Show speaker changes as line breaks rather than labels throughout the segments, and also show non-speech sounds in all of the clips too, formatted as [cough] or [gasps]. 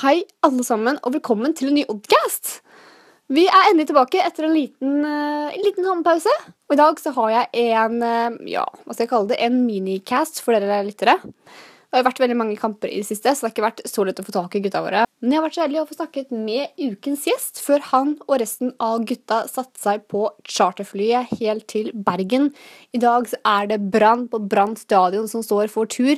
Hei, alle sammen, og velkommen til en ny Oddcast. Vi er endelig tilbake etter en liten, eh, en liten sommerpause. Og i dag så har jeg en eh, ja, hva skal jeg kalle det, en minicast for dere lyttere. Det har jo vært veldig mange kamper i det siste, så det har ikke vært så lett å få tak i gutta våre. Men jeg har vært så heldig å få snakket med ukens gjest før han og resten av gutta satte seg på charterflyet helt til Bergen. I dag så er det Brann på Brann stadion som står for tur.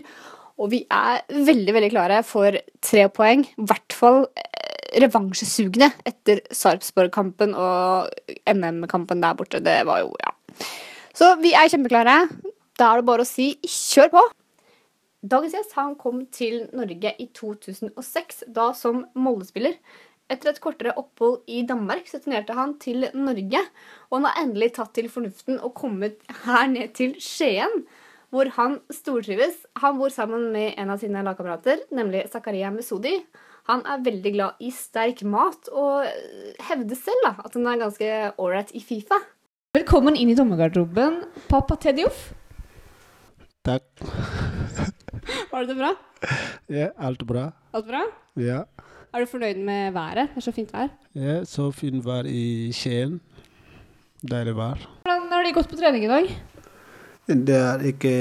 Og vi er veldig veldig klare for tre poeng. I hvert fall eh, revansjesugne etter Sarpsborg-kampen og MM-kampen der borte. Det var jo ja. Så vi er kjempeklare. Da er det bare å si kjør på! Dagens gjest han kom til Norge i 2006, da som Molde-spiller. Etter et kortere opphold i Danmark så turnerte han til Norge. Og han har endelig tatt til fornuften og kommet her ned til Skien, hvor han stortrives. Han bor sammen med en av sine lagkamerater, nemlig Zakaria Mesodi. Han er veldig glad i sterk mat og hevder selv da, at han er ganske ålreit i Fifa. Velkommen inn i dommergarderoben, pappa Tedjof.
Takk.
Var det bra?
Ja, alt bra.
Alt bra?
Ja.
Er du fornøyd med været? Det er så fint vær.
ja så fint vær i Skien. Deilig vær.
Hvordan har de gått på trening i dag?
Det er ikke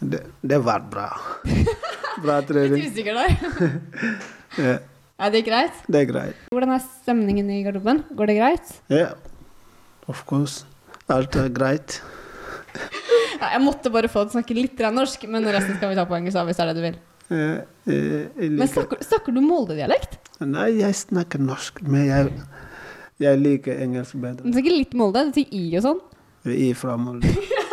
Det, det var [laughs] bra. Bra trening.
Usikker der.
Ja,
Er det greit?
det er greit.
Hvordan er stemningen i garderoben? Går det greit?
Ja, of course. Alt er greit.
Ja, jeg måtte bare få deg til å snakke litt grann norsk, men resten skal vi ta på engelsk da, hvis det er det du vil.
Ja, jeg- jeg
Men
liker
snakker, snakker du Molde-dialekt?
Nei, jeg snakker norsk, men jeg, jeg liker engelsk
Du
bedre.
snakker litt Molde, du sier i og sånn.
Jeg er fra [laughs] Molde.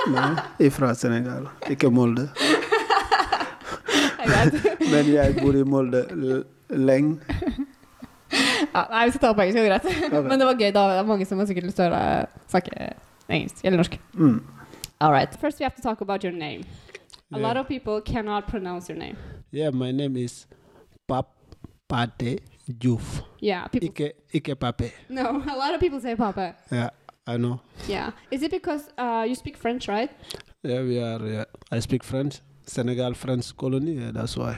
Nei, jeg er fra Senegal, ikke Molde.
Det er greit.
Men jeg bor i Molde l- lenge.
[laughs] Ja, nei, vi skal ta det på engelsk, det er greit. Men det var gøy, da. Det er mange som har sikkert lyst til å høre deg snakke engelsk eller norsk.
Mm.
All right. First we have to talk about your name. A
Yeah.
lot of people cannot pronounce your name.
Yeah, my name is Pap Pate Juf.
Yeah, people.
Ike Ike Pape.
[laughs] No, a lot of people say Papa.
Yeah, I know.
Yeah. Is it because uh, you speak French, right?
Yeah, we are. Yeah. I speak French, Senegal French colony. Yeah, that's why.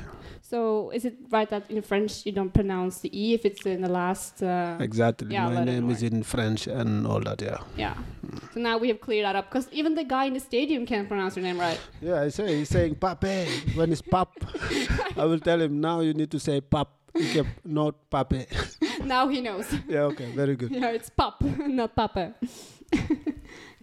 So is it right that in French you don't pronounce the e if it's in the last? Uh,
Exactly.
Yeah,
my
let it
name is in French and all that. Yeah.
yeah. So now we have cleared that up because even the guy in the stadium can't pronounce your name right. [laughs]
Yeah, I say he's saying Pape when it's Pap. I will tell him now. You need to say Pap. Ike, not Pape.
now he knows. [laughs]
yeah. Okay. Very good.
yeah, it's pop, [laughs] not papa.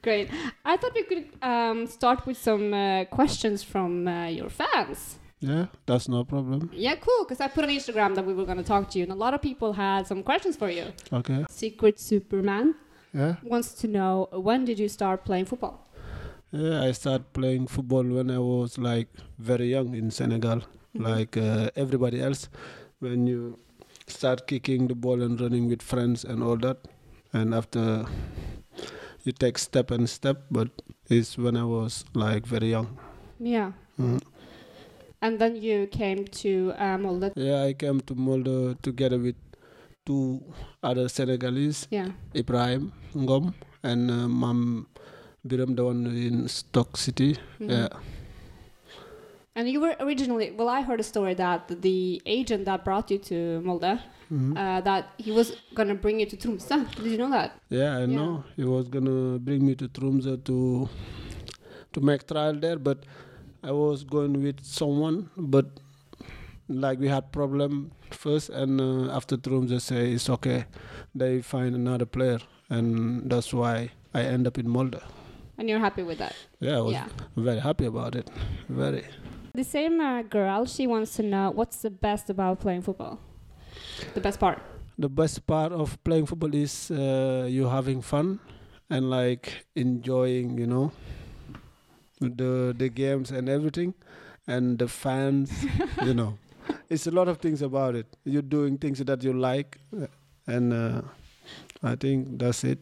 Great. I thought we could um, start with some uh, questions from uh, your fans.
Yeah, that's no problem.
Yeah, cool. Because I put on Instagram that we were going to talk to you, and a lot of people had some questions for you.
Okay.
Secret Superman
Yeah.
wants to know when did you start playing football?
Yeah, I started playing football when I was like very young in Senegal, like uh, everybody else. When you start kicking the ball and running with friends and all that, and after you take step and step, but it's when I was like very young.
Yeah.
Mhm.
And then you came to uh, Molde.
Yeah, I came to Molde together with two other Senegalese,
Yeah.
Ibrahim Ngom and uh, Mam Biram, the one in Stock City.
Mhm.
Yeah.
And you were originally, well, I heard a story that the agent that brought you to Molde,
Mhm.
uh, that he was going to bring you to Tromsø. Did you know that?
Yeah, I
Yeah.
know. He was gonna bring me to Tromsø to to make trial there, but I was going with someone, but like we had problem first, and uh, after Tromsø say it's okay, they find another player, and that's why I end up in Molde.
And you're happy with that?
Yeah, I was
Yeah.
very happy about it. Very.
The same uh, girl, she wants to know what's the best about playing football? The best part. [laughs]
the best part of playing football is uh, you having fun and like enjoying you know the the games and everything and the fans you know it's a lot of things about it you're doing things that you like uh, and uh, i think that's it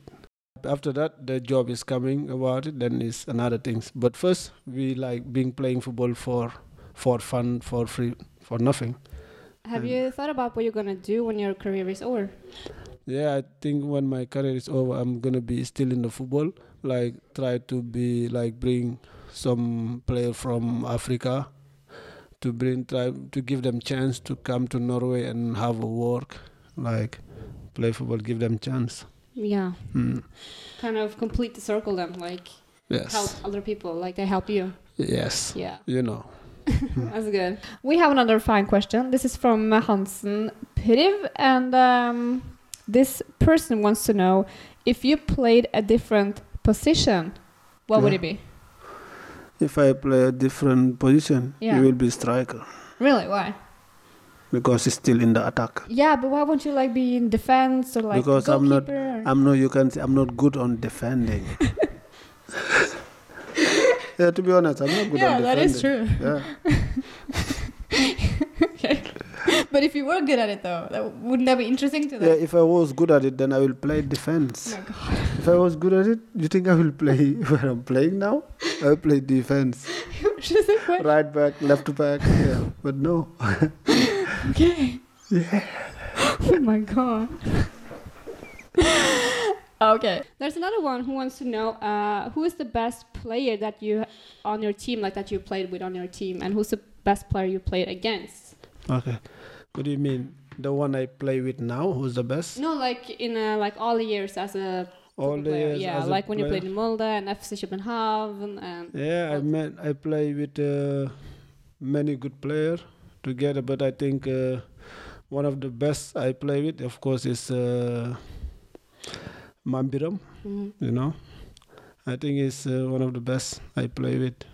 after that the job is coming about it then it's another things but first we like being playing football for for fun for free for nothing
Have
And-
you thought about what you're gonna do when your career is over?
Yeah, I think when my career is over, I'm gonna be still in the football. Like try to be like bring some player from Africa to bring try, to give them chance to come to Norway and have a work, like play football, give them chance.
Yeah.
Mm.
Kind of complete the circle then, like
Yes.
help other people, like they help you.
Yes. [laughs]
Yeah.
You know. Hmm.
That's good. We have another fine question. This is from uh, Hansen Priv, and um, this person wants to know if you played a different position, what would
Yeah.
it be?
If I play a different position,
Yeah.
you will be striker
Really? Why?
because it's still in the attack.
Yeah, but why won't you like be in defense or like
Because I'm not-
goalkeeper?
I'm not. You can. Say, I'm not good on
[laughs]
defending. yeah, to be honest, I'm not good
yeah,
on defending.
that is true. [laughs]
Yeah,
okay. but if you were good at it though, that wouldn't that be interesting to them? [laughs]
yeah. If I was good at it, then I will play
Oh
defense.
my god.
If I was good at it, you think I will play [laughs] where I'm playing now? I will play defense,
Just a question.
right back, left back. Yeah, but no.
Okay. [laughs] oh my god. okay. There's another one who wants to know uh, who is the best player that you on your team, like that you played with on your team, and who's the best player you played against?
Okay. What do you mean? The one I play with now, who's the best?
No, like in uh, like all the years as a
All
football
the
player.
years
yeah,
as a
like when you
player?
played in Molde and FC Copenhagen and
Yeah, I
Well-
met. I play with uh, many good players together, but I think uh, one of the best I play with, of course, is uh, Mambiram.
Mhm.
You know, I think he's uh, one of the best I play with.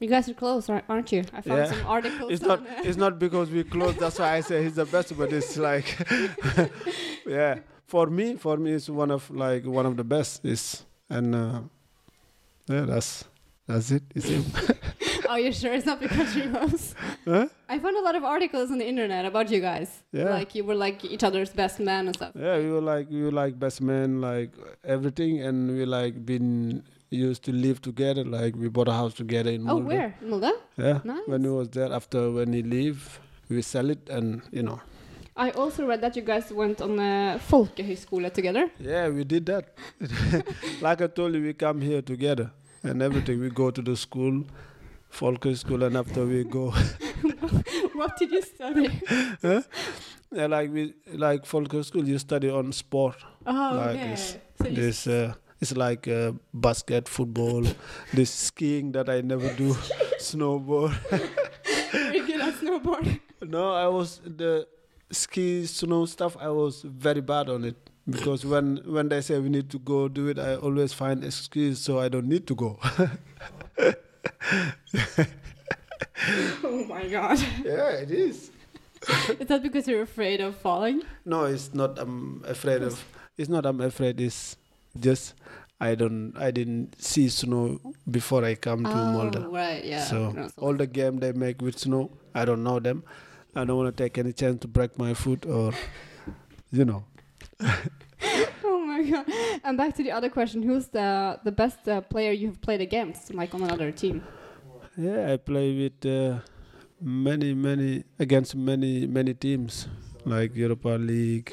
you guys are close, aren't- aren't you? I found
Yeah.
some articles.
It's not.
on,
It's not because we close. That's why I say he's the best. But
[laughs]
it's like, [laughs] yeah. For me, for me, it's one of like one of the best. Is and uh, yeah, that's that's it. It's him.
Are you sure it's not because you're close?
Huh?
I found a lot of articles on the internet about you guys.
Yeah.
Like you were like each other's best man and stuff.
Yeah, we were like we were like best men, like everything, and we like been used to live together. Like we bought a house together in
Oh,
Maldives.
where? Mulda?
Yeah, when he
Nice.
was there. After when he leave, we sell it, and you know.
I also read that you guys went on a folkehögskola together. [laughs]
Yeah, we did that. [laughs] like I told you, we come here together and everything. We go to the school, Folke school, and after we go, [laughs]
what did you study?
yeah, like we like Folke school, you study on sport.
Oh,
Like
okay.
this-
So you
This uh, it's like uh, basket football, this skiing that I never
[laughs]
do, snowboard.
very good at snowboard.
No, I was the ski snow stuff. I was very bad on it because when when they say we need to go do it, I always find excuse so I don't need to go.
[laughs]
[laughs]
oh my god.
yeah, it is.
Is that because you're afraid of falling?
No, it's not. I'm afraid of. It's not. I'm afraid. It's just I don't. I didn't see snow before I come to Molde.
Oh, right, yeah. No,
So all the game they make with snow, I don't know them. I don't want to take any chance to break my foot or, you know.
[laughs] Oh my god. And back to the other question, who's the the best uh, player you've played against like on another team?
Yeah, I play with uh, many, many against many, many teams like Europa League,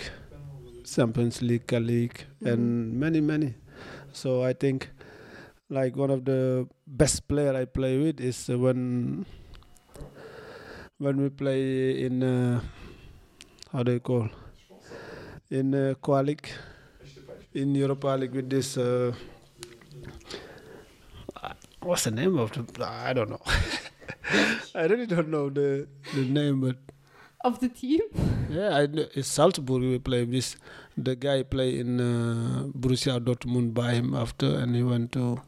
Champions League, Ka League, and many, many. So I think like one of the best player I play with is uh, when when we play in uh, how do you call in uh, Qualic in Europa League with this. Uh, what's the name of the? I don't know. [laughs] I really don't know the the name, but
Of the team?
yeah, I know it's Salzburg we play this. The guy play in uh, Borussia Dortmund by him after, and he went to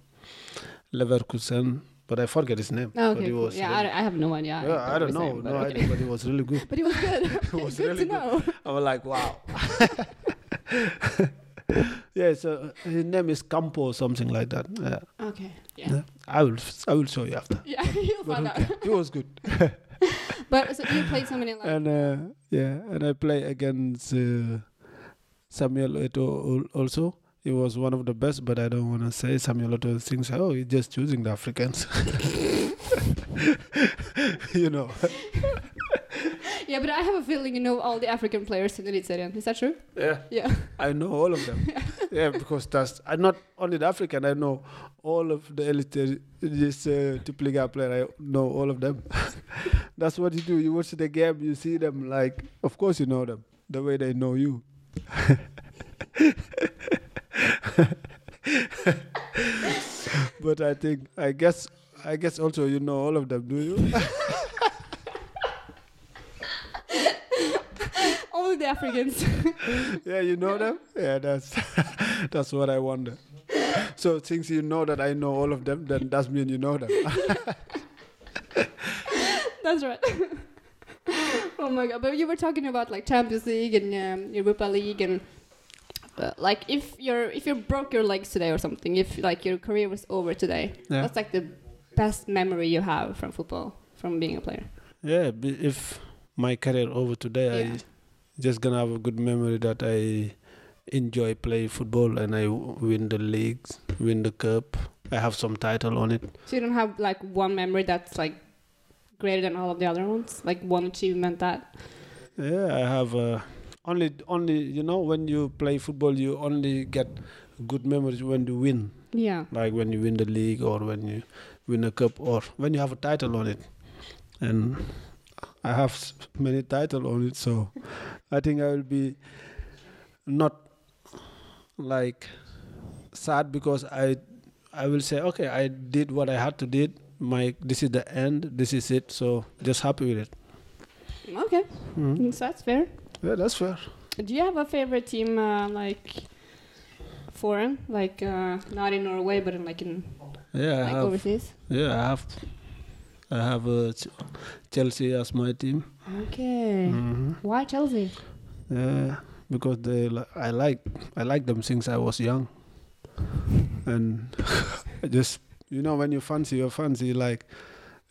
Leverkusen, but I forget his name.
Oh,
but
okay.
he
cool.
was
Yeah, I,
really-
don't- I have no idea.
Yeah, I don't
what
know,
you're saying,
no
but okay.
idea, but he was really good.
[laughs] But it was good. it
was
[laughs] good
really
to
good.
know.
[laughs] I was like, wow. [laughs] yeah, so uh, his name is Campo or something like that. Yeah,
Okay. Yeah.
[laughs] yeah. I will, I will show you after.
Yeah, [laughs] you'll
But
find out.
okay, he was good.
But so you played so many like
and uh, yeah, and I play against uh, Samuel Eto al- also. He was one of the best, but I don't want to say Samuel Eto thinks, oh, he's just choosing the [laughs] Africans. you know,
Yeah, but I have a feeling you know all the African players in Eliteserien. Is that true?
Yeah,
Yeah. [laughs]
[laughs] I know all of them. yeah, because that's I'm not only the African. I know all of the elite this uh, Tipliga player. I know all of them. [laughs] that's what you do. You watch the game. You see them. Like of course you know them. The way they know you. [laughs] but I think I guess I guess also you know all of them. Do you?
Only the Africans. [laughs]
yeah, you know them. Yeah, that's [laughs] that's what I wonder. So since you know that I know all of them, then that's mean you know them. [laughs]
That's right. [laughs] oh my god! But you were talking about like Champions League and um, Europa League and uh, like if you're if you broke your legs today or something, if like your career was over today,
Yeah.
what's like the best memory you have from football from being a player?
Yeah, b- if my career over today,
Yeah.
I just gonna have a good memory that I enjoy play football and I w- win the leagues, win the cup. I have some title on it.
So you don't have like one memory that's like greater than all of the other ones, like one achievement that.
Yeah, I have uh, only only you know when you play football, you only get good memories when you win,
Yeah.
like when you win the league or when you win a cup or when you have a title on it. And I have s- many title on it, so I think I will be not like sad because I I will say okay, I did what I had to did. My this is the end. This is it. So just happy with it.
Okay,
Mhm.
Mm, so that's fair.
Yeah, that's fair.
Do you have a favorite team, uh, like foreign, like uh, not in Norway, but in like in
Yeah, I
like
have.
overseas?
Yeah, I have. I have uh, Ch- Chelsea as my team.
Okay.
hmm
Why Chelsea?
Yeah, because they li- I like I like them since I was young, and [laughs] I just you know when you fancy your fancy like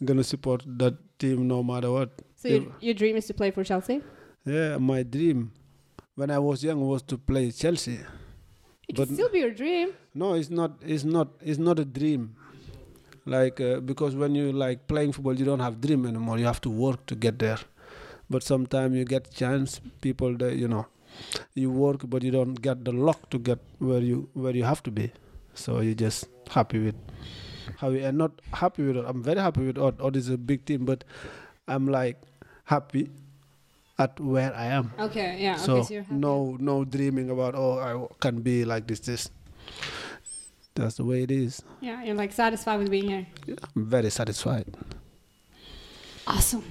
gonna support that team no matter what.
So your, your dream is to play for Chelsea?
Yeah, my dream when I was young was to play Chelsea.
It
But-
could still be your dream.
No, it's not. It's not. It's not a dream. Like uh, because when you like playing football, you don't have dream anymore. You have to work to get there. But sometimes you get chance. People, that you know, you work, but you don't get the luck to get where you where you have to be. So you're just happy with how you. And not happy with. I'm very happy with. Odd. Odd is a big team, but I'm like happy at where I am
Okay, yeah.
so,
okay, so you're happy.
no no dreaming about oh i w- can be like this this that's the way it is
Yeah, you're like satisfied with being here.
i'm very satisfied
Awesome.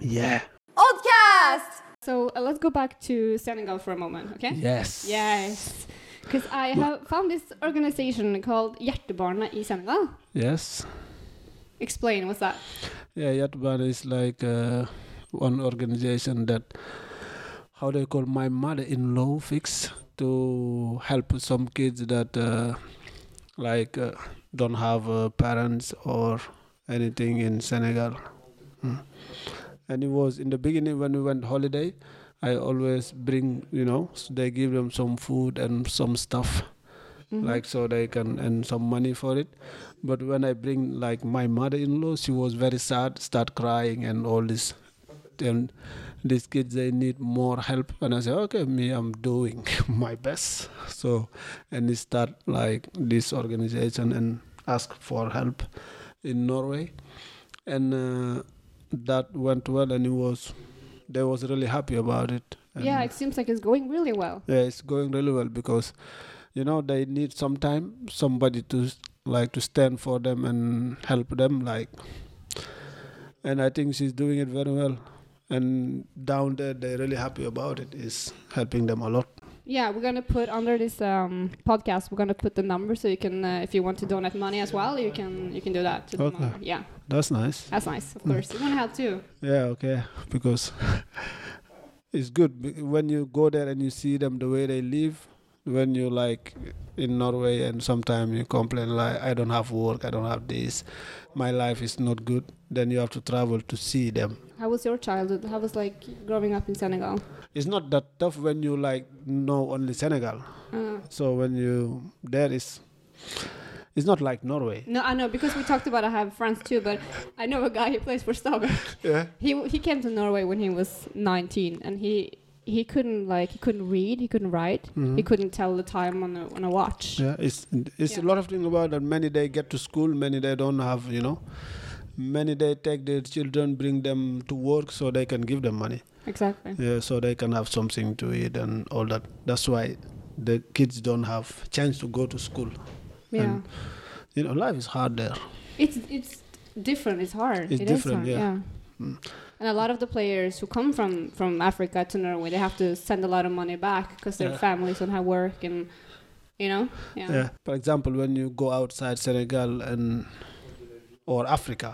yeah
Oddcast!
So uh, let's go back to Senegal for a moment, okay?
yes
Yes. Because I have found this organization called Hjertebarna i Senegal.
yes
Explain, what's that?
yeah yatban is like uh, one organization that how they call my mother-in-law fix to help some kids that uh, like uh, don't have uh, parents or anything in senegal Mm. and it was in the beginning when we went holiday i always bring you know s- they give them some food and some stuff like so they can earn some money for it but when i bring like my mother-in-law she was very sad start crying and all this and these kids they need more help and i say okay me i'm doing [laughs] my best so and they start like this organization and ask for help in norway and uh, that went well and it was they was really happy about it and
Yeah, it seems like it's going really well.
yeah, it's going really well because you know they need some time, somebody to s- like to stand for them and help them. Like, and I think she's doing it very well. And down there, they're really happy about it. It's helping them a lot.
Yeah, we're gonna put under this um, podcast. We're gonna put the number so you can, uh, if you want to donate money as well, you can you can do that. To the
Okay.
number. Yeah,
That's nice.
that's nice. Of course, we want to help too.
Yeah, okay, [laughs] because it's good be- when you go there and you see them the way they live. When you like in Norway and sometimes you complain like I don't have work, I don't have this, my life is not good. Then you have to travel to see them.
How was your childhood? How was like growing up in Senegal?
It's not that tough when you like know only Senegal.
Uh,
So when you there is It's not like Norway.
No, I know because we talked about I have friends too, but I know a guy who plays for Stabæk.
Yeah.
He he came to Norway when he was 19, and he he couldn't like he couldn't read, he couldn't write, he couldn't tell the time on a on a watch.
Mm-hmm. Yeah, it's it's a
Yeah.
lot of thing about that. Many they get to school, many they don't have, you know. Many they take their children, bring them to work so they can give them money,
Exactly.
yeah, so they can have something to eat and all that. That's why the kids don't have chance to go to school.
Yeah,
And- You know, life is hard there.
it's it's different. It's hard. It
It's
is
different,
hard,
yeah. Mm.
And a lot of the players who come from from Africa to Norway, they have to send a lot of money back because their
Yeah.
families don't have work and. You know, yeah.
Yeah. For example, when you go outside Senegal and or Africa,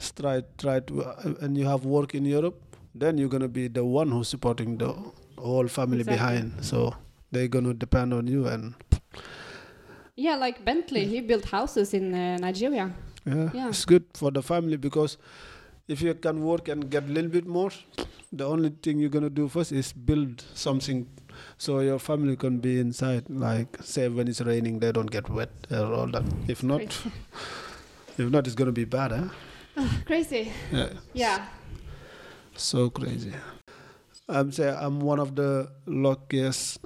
s- try try to uh, and you have work in Europe, then you're gonna be the one who's supporting the whole family
Exactly.
behind. So they're gonna depend on you and
Yeah, like Bentley, he built houses in uh, Nigeria. [laughs]
yeah,
Yeah.
it's good for the family because if you can work and get a little bit more, the only thing you're gonna do first is build something so your family can be inside. Like say when it's raining, they don't get wet or all that. If not,
Crazy.
if not, it's gonna be bad, eh?
Crazy.
Yeah.
Yeah.
So crazy. I'm say I'm one of the luckiest,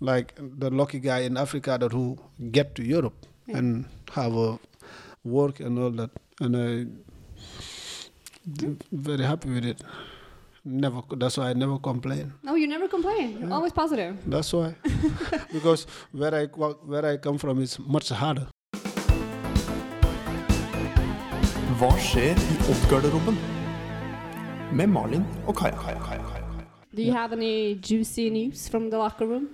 like the lucky guy in Africa that who get to Europe
Yeah.
and have a work and all that, and I d- very happy with it. Never. c- That's why I never complain.
No, you never complain. You're
Yeah.
always positive.
That's why, because where I qua- where I come from is much harder.
Hva skjer i Oddgarderoben? Med Malin og Kaja.
Do you have any juicy news from the locker room?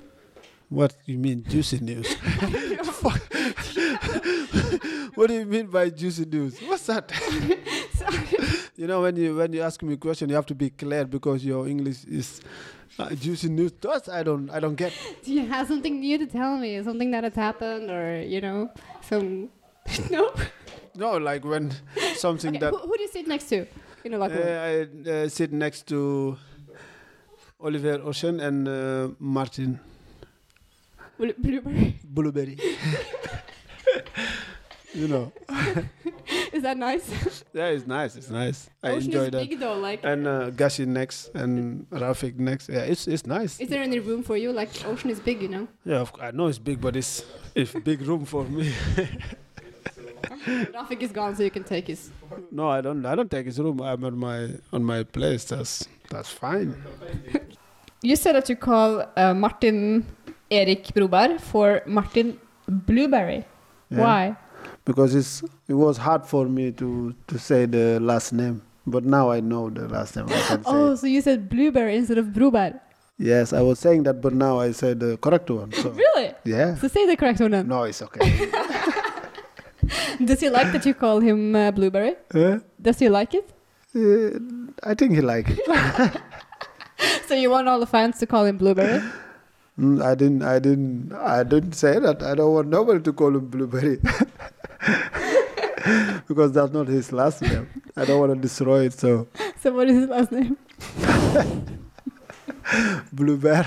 What you mean juicy news? Fuck. [laughs] what do you mean by juicy news?
[laughs]
What's that? you know when you when you ask me a question, you have to be clear because your English is uh, juicy news. That's I don't I don't get.
[laughs] Do you have something new to tell me? Something that has happened or, you know, some. [laughs] no?
No, like when something
Okay,
that
who, who do you sit next to in the locker room?
uh, I uh, sit next to Oliver Ocean and uh, Martin
Blu- Blueberry. [laughs]
Blueberry. [laughs] you know,
Is that nice?
yeah, it's nice. It's nice. I
Ocean
enjoy
is
that.
big though. Like,
and uh, Gashi next and Rafik next. Yeah, it's it's nice.
is there any room for you? Like, ocean is big, you know?
yeah, of, cou- I know it's big, but it's it's big room for me. [laughs]
Rafik is gone, so you can take his.
no, I don't I don't take his room. I'm on my on my place. That's that's fine.
You said that you call uh, Martin Erik Broberg for Martin Blueberry.
Yeah.
Why?
Because it's it was hard for me to to say the last name, but now I know the last name. I
[laughs]
can
Oh,
say.
so you said Blueberry instead of Broberg.
Yes, I was saying that, but now I say the correct one. So
Really? [laughs]
yeah,
So say the correct one then.
no, it's okay. [laughs]
Does he like that you call him uh, Blueberry?
Eh?
Does he like it?
Eh, I think he like it.
So you want all the fans to call him Blueberry?
Mm, I didn't. I didn't. I didn't say that. I don't want nobody to call him Blueberry [laughs] because that's not his last name. I don't want to destroy it. So
[laughs] so what is his last name?
[laughs]
Blueberry. [laughs]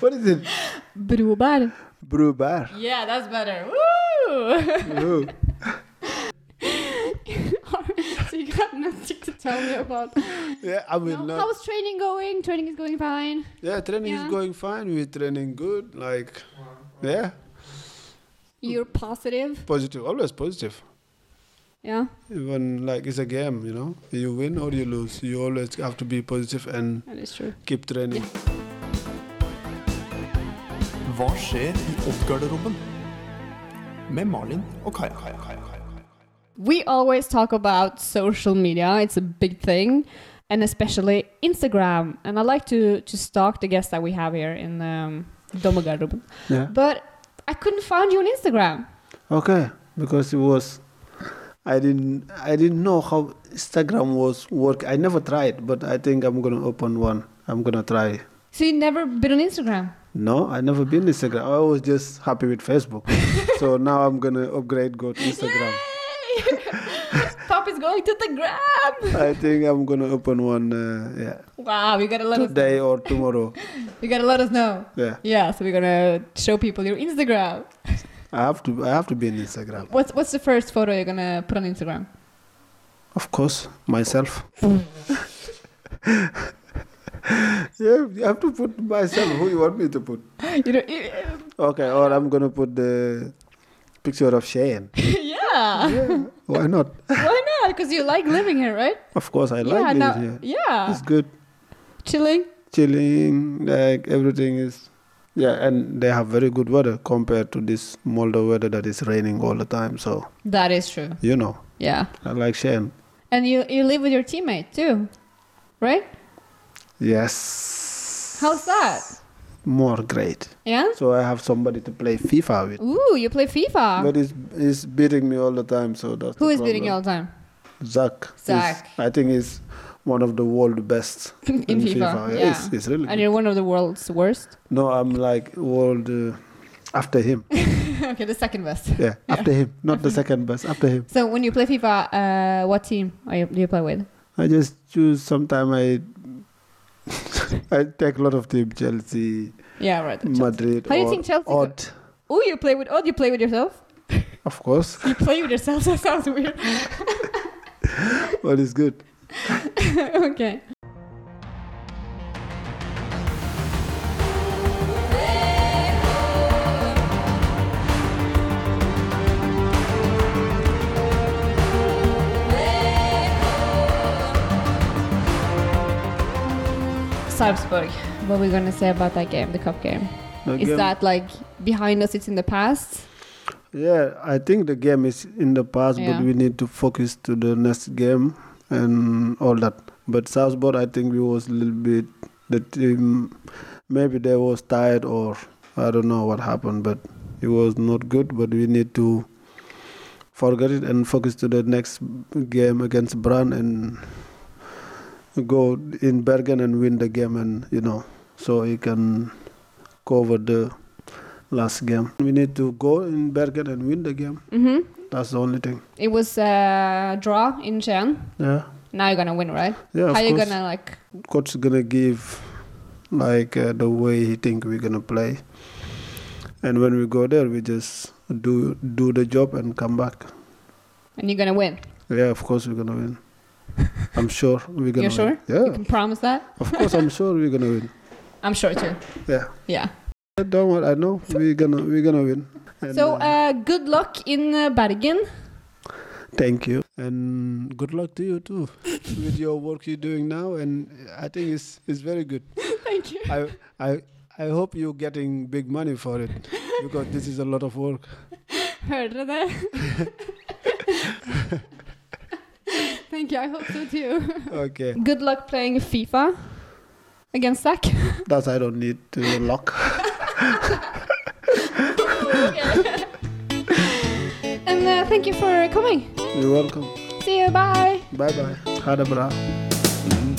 what is it?
Broberg.
Blueberry.
Yeah, that's better. Woo! [laughs]
Oh,
so you got nothing to tell me about.
yeah, I will
No?
not.
How's training going? Training is going fine.
Yeah, training
Yeah.
is going fine. We're training good. Like, yeah,
You're positive.
positive. Always positive.
Yeah.
Even like it's a game, you know. You win or you lose. You always have to be positive and
That is true.
keep training.
Hva skjer i Oddgarderoben? Med Malin og Kaja.
We always talk about social media, it's a big thing, and especially Instagram. And I like to, to stalk the guests that we have here in um, Domogarderoben.
Yeah.
But I couldn't find you on Instagram.
Okay, because it was, I didn't, I didn't know how Instagram was work. I never tried, but I think I'm gonna open one. I'm gonna try.
So you never been on Instagram.
No, I never been Instagram. I was just happy with Facebook, so now I'm gonna upgrade go to Instagram.
Yay! [laughs] Papa's going to the gram.
I think I'm gonna open one. Uh, yeah,
Wow, you gotta let us
today or tomorrow.
you gotta let us know.
Yeah,
Yeah, so we're gonna show people your Instagram.
I have to. I have to be on Instagram.
What's what's the first photo you're gonna put on Instagram? [gasps]
Of course, myself. [laughs] yeah, you have to put myself. Who you want me to put?
You know, you- [laughs]
Okay, or I'm gonna put the picture of Cheyenne.
yeah.
Yeah, why not?
Why not? Because you like living here, right?
Of course, I
yeah.
like
now-
living here.
Yeah.
It's good,
chilling.
chilling. Like everything is. Yeah, and they have very good weather compared to this Moldova weather that is raining all the time. So
That is true.
you know,
Yeah.
I like Cheyenne.
And you you live with your teammate too, right?
Yes.
How's that?
More great.
Yeah.
So I have somebody to play FIFA with.
Ooh, you play FIFA.
But he's, he's beating me all the time, so that's
Who
the
is beating you all
problem.
the time?
Zach. is-
Zach.
I think he's one of the world best
In [laughs] FIFA,
Yeah,
yeah.
It's, it's really
And
good.
you're one of the world's worst. [laughs]
No, I'm like world uh, after him.
okay, the second best.
Yeah, after him, not the second best. After him,
So when you play FIFA, uh, what team are you, do you play with?
I just choose. Sometime I [laughs] I take a lot of team: Chelsea,
Yeah, right. Chelsea.
Madrid.
How do you
or
think Chelsea go-
Odd,
Oh, you play with. Oh, you play with yourself.
of course, [laughs]
You play with yourself. [laughs] That sounds weird.
but it's good.
okay. Salzburg. What are we gonna say about that game, the cup game?
The
Is
game-
that like behind us? It's in the past.
Yeah, I think the game is in the past,
Yeah.
but we need to focus to the next game and all that. But Southport, I think we was a little bit the team. Maybe they was tired or I don't know what happened, but it was not good. But we need to forget it and focus to the next game against Brand and go in Bergen and win the game, and you know, so he can cover the last game. We need to go in Bergen and win the game.
hmm
That's the only thing.
It was a draw in Chen.
Yeah.
Now you're gonna win, right?
Yeah, of
How are you
course.
gonna like
Coach is gonna give like uh, the way he think we're gonna play, and when we go there, we just do do the job and come back.
and you're gonna win.
Yeah, of course we're gonna win. I'm sure we're gonna.
You're sure? You
Win.
can promise that?
Yeah, of course I'm sure we're gonna win.
I'm sure too.
Yeah.
Yeah.
Don't worry, I know we're gonna we're gonna win. And,
So,
uh,
uh, good luck in uh, Bergen.
Thank you. And good luck to you too with your work you're doing now. And I think it's it's very good.
[laughs] Thank you.
I I I hope you're getting big money for it because this is a lot of work.
Hørte dere
[laughs]
det? Thank you, I hope so too.
Okay,
Good luck playing FIFA against Zach.
that's I don't need to lock.
And uh, thank you for coming.
You're welcome.
See you. Bye.
Bye bye. Had a bra.
Mm.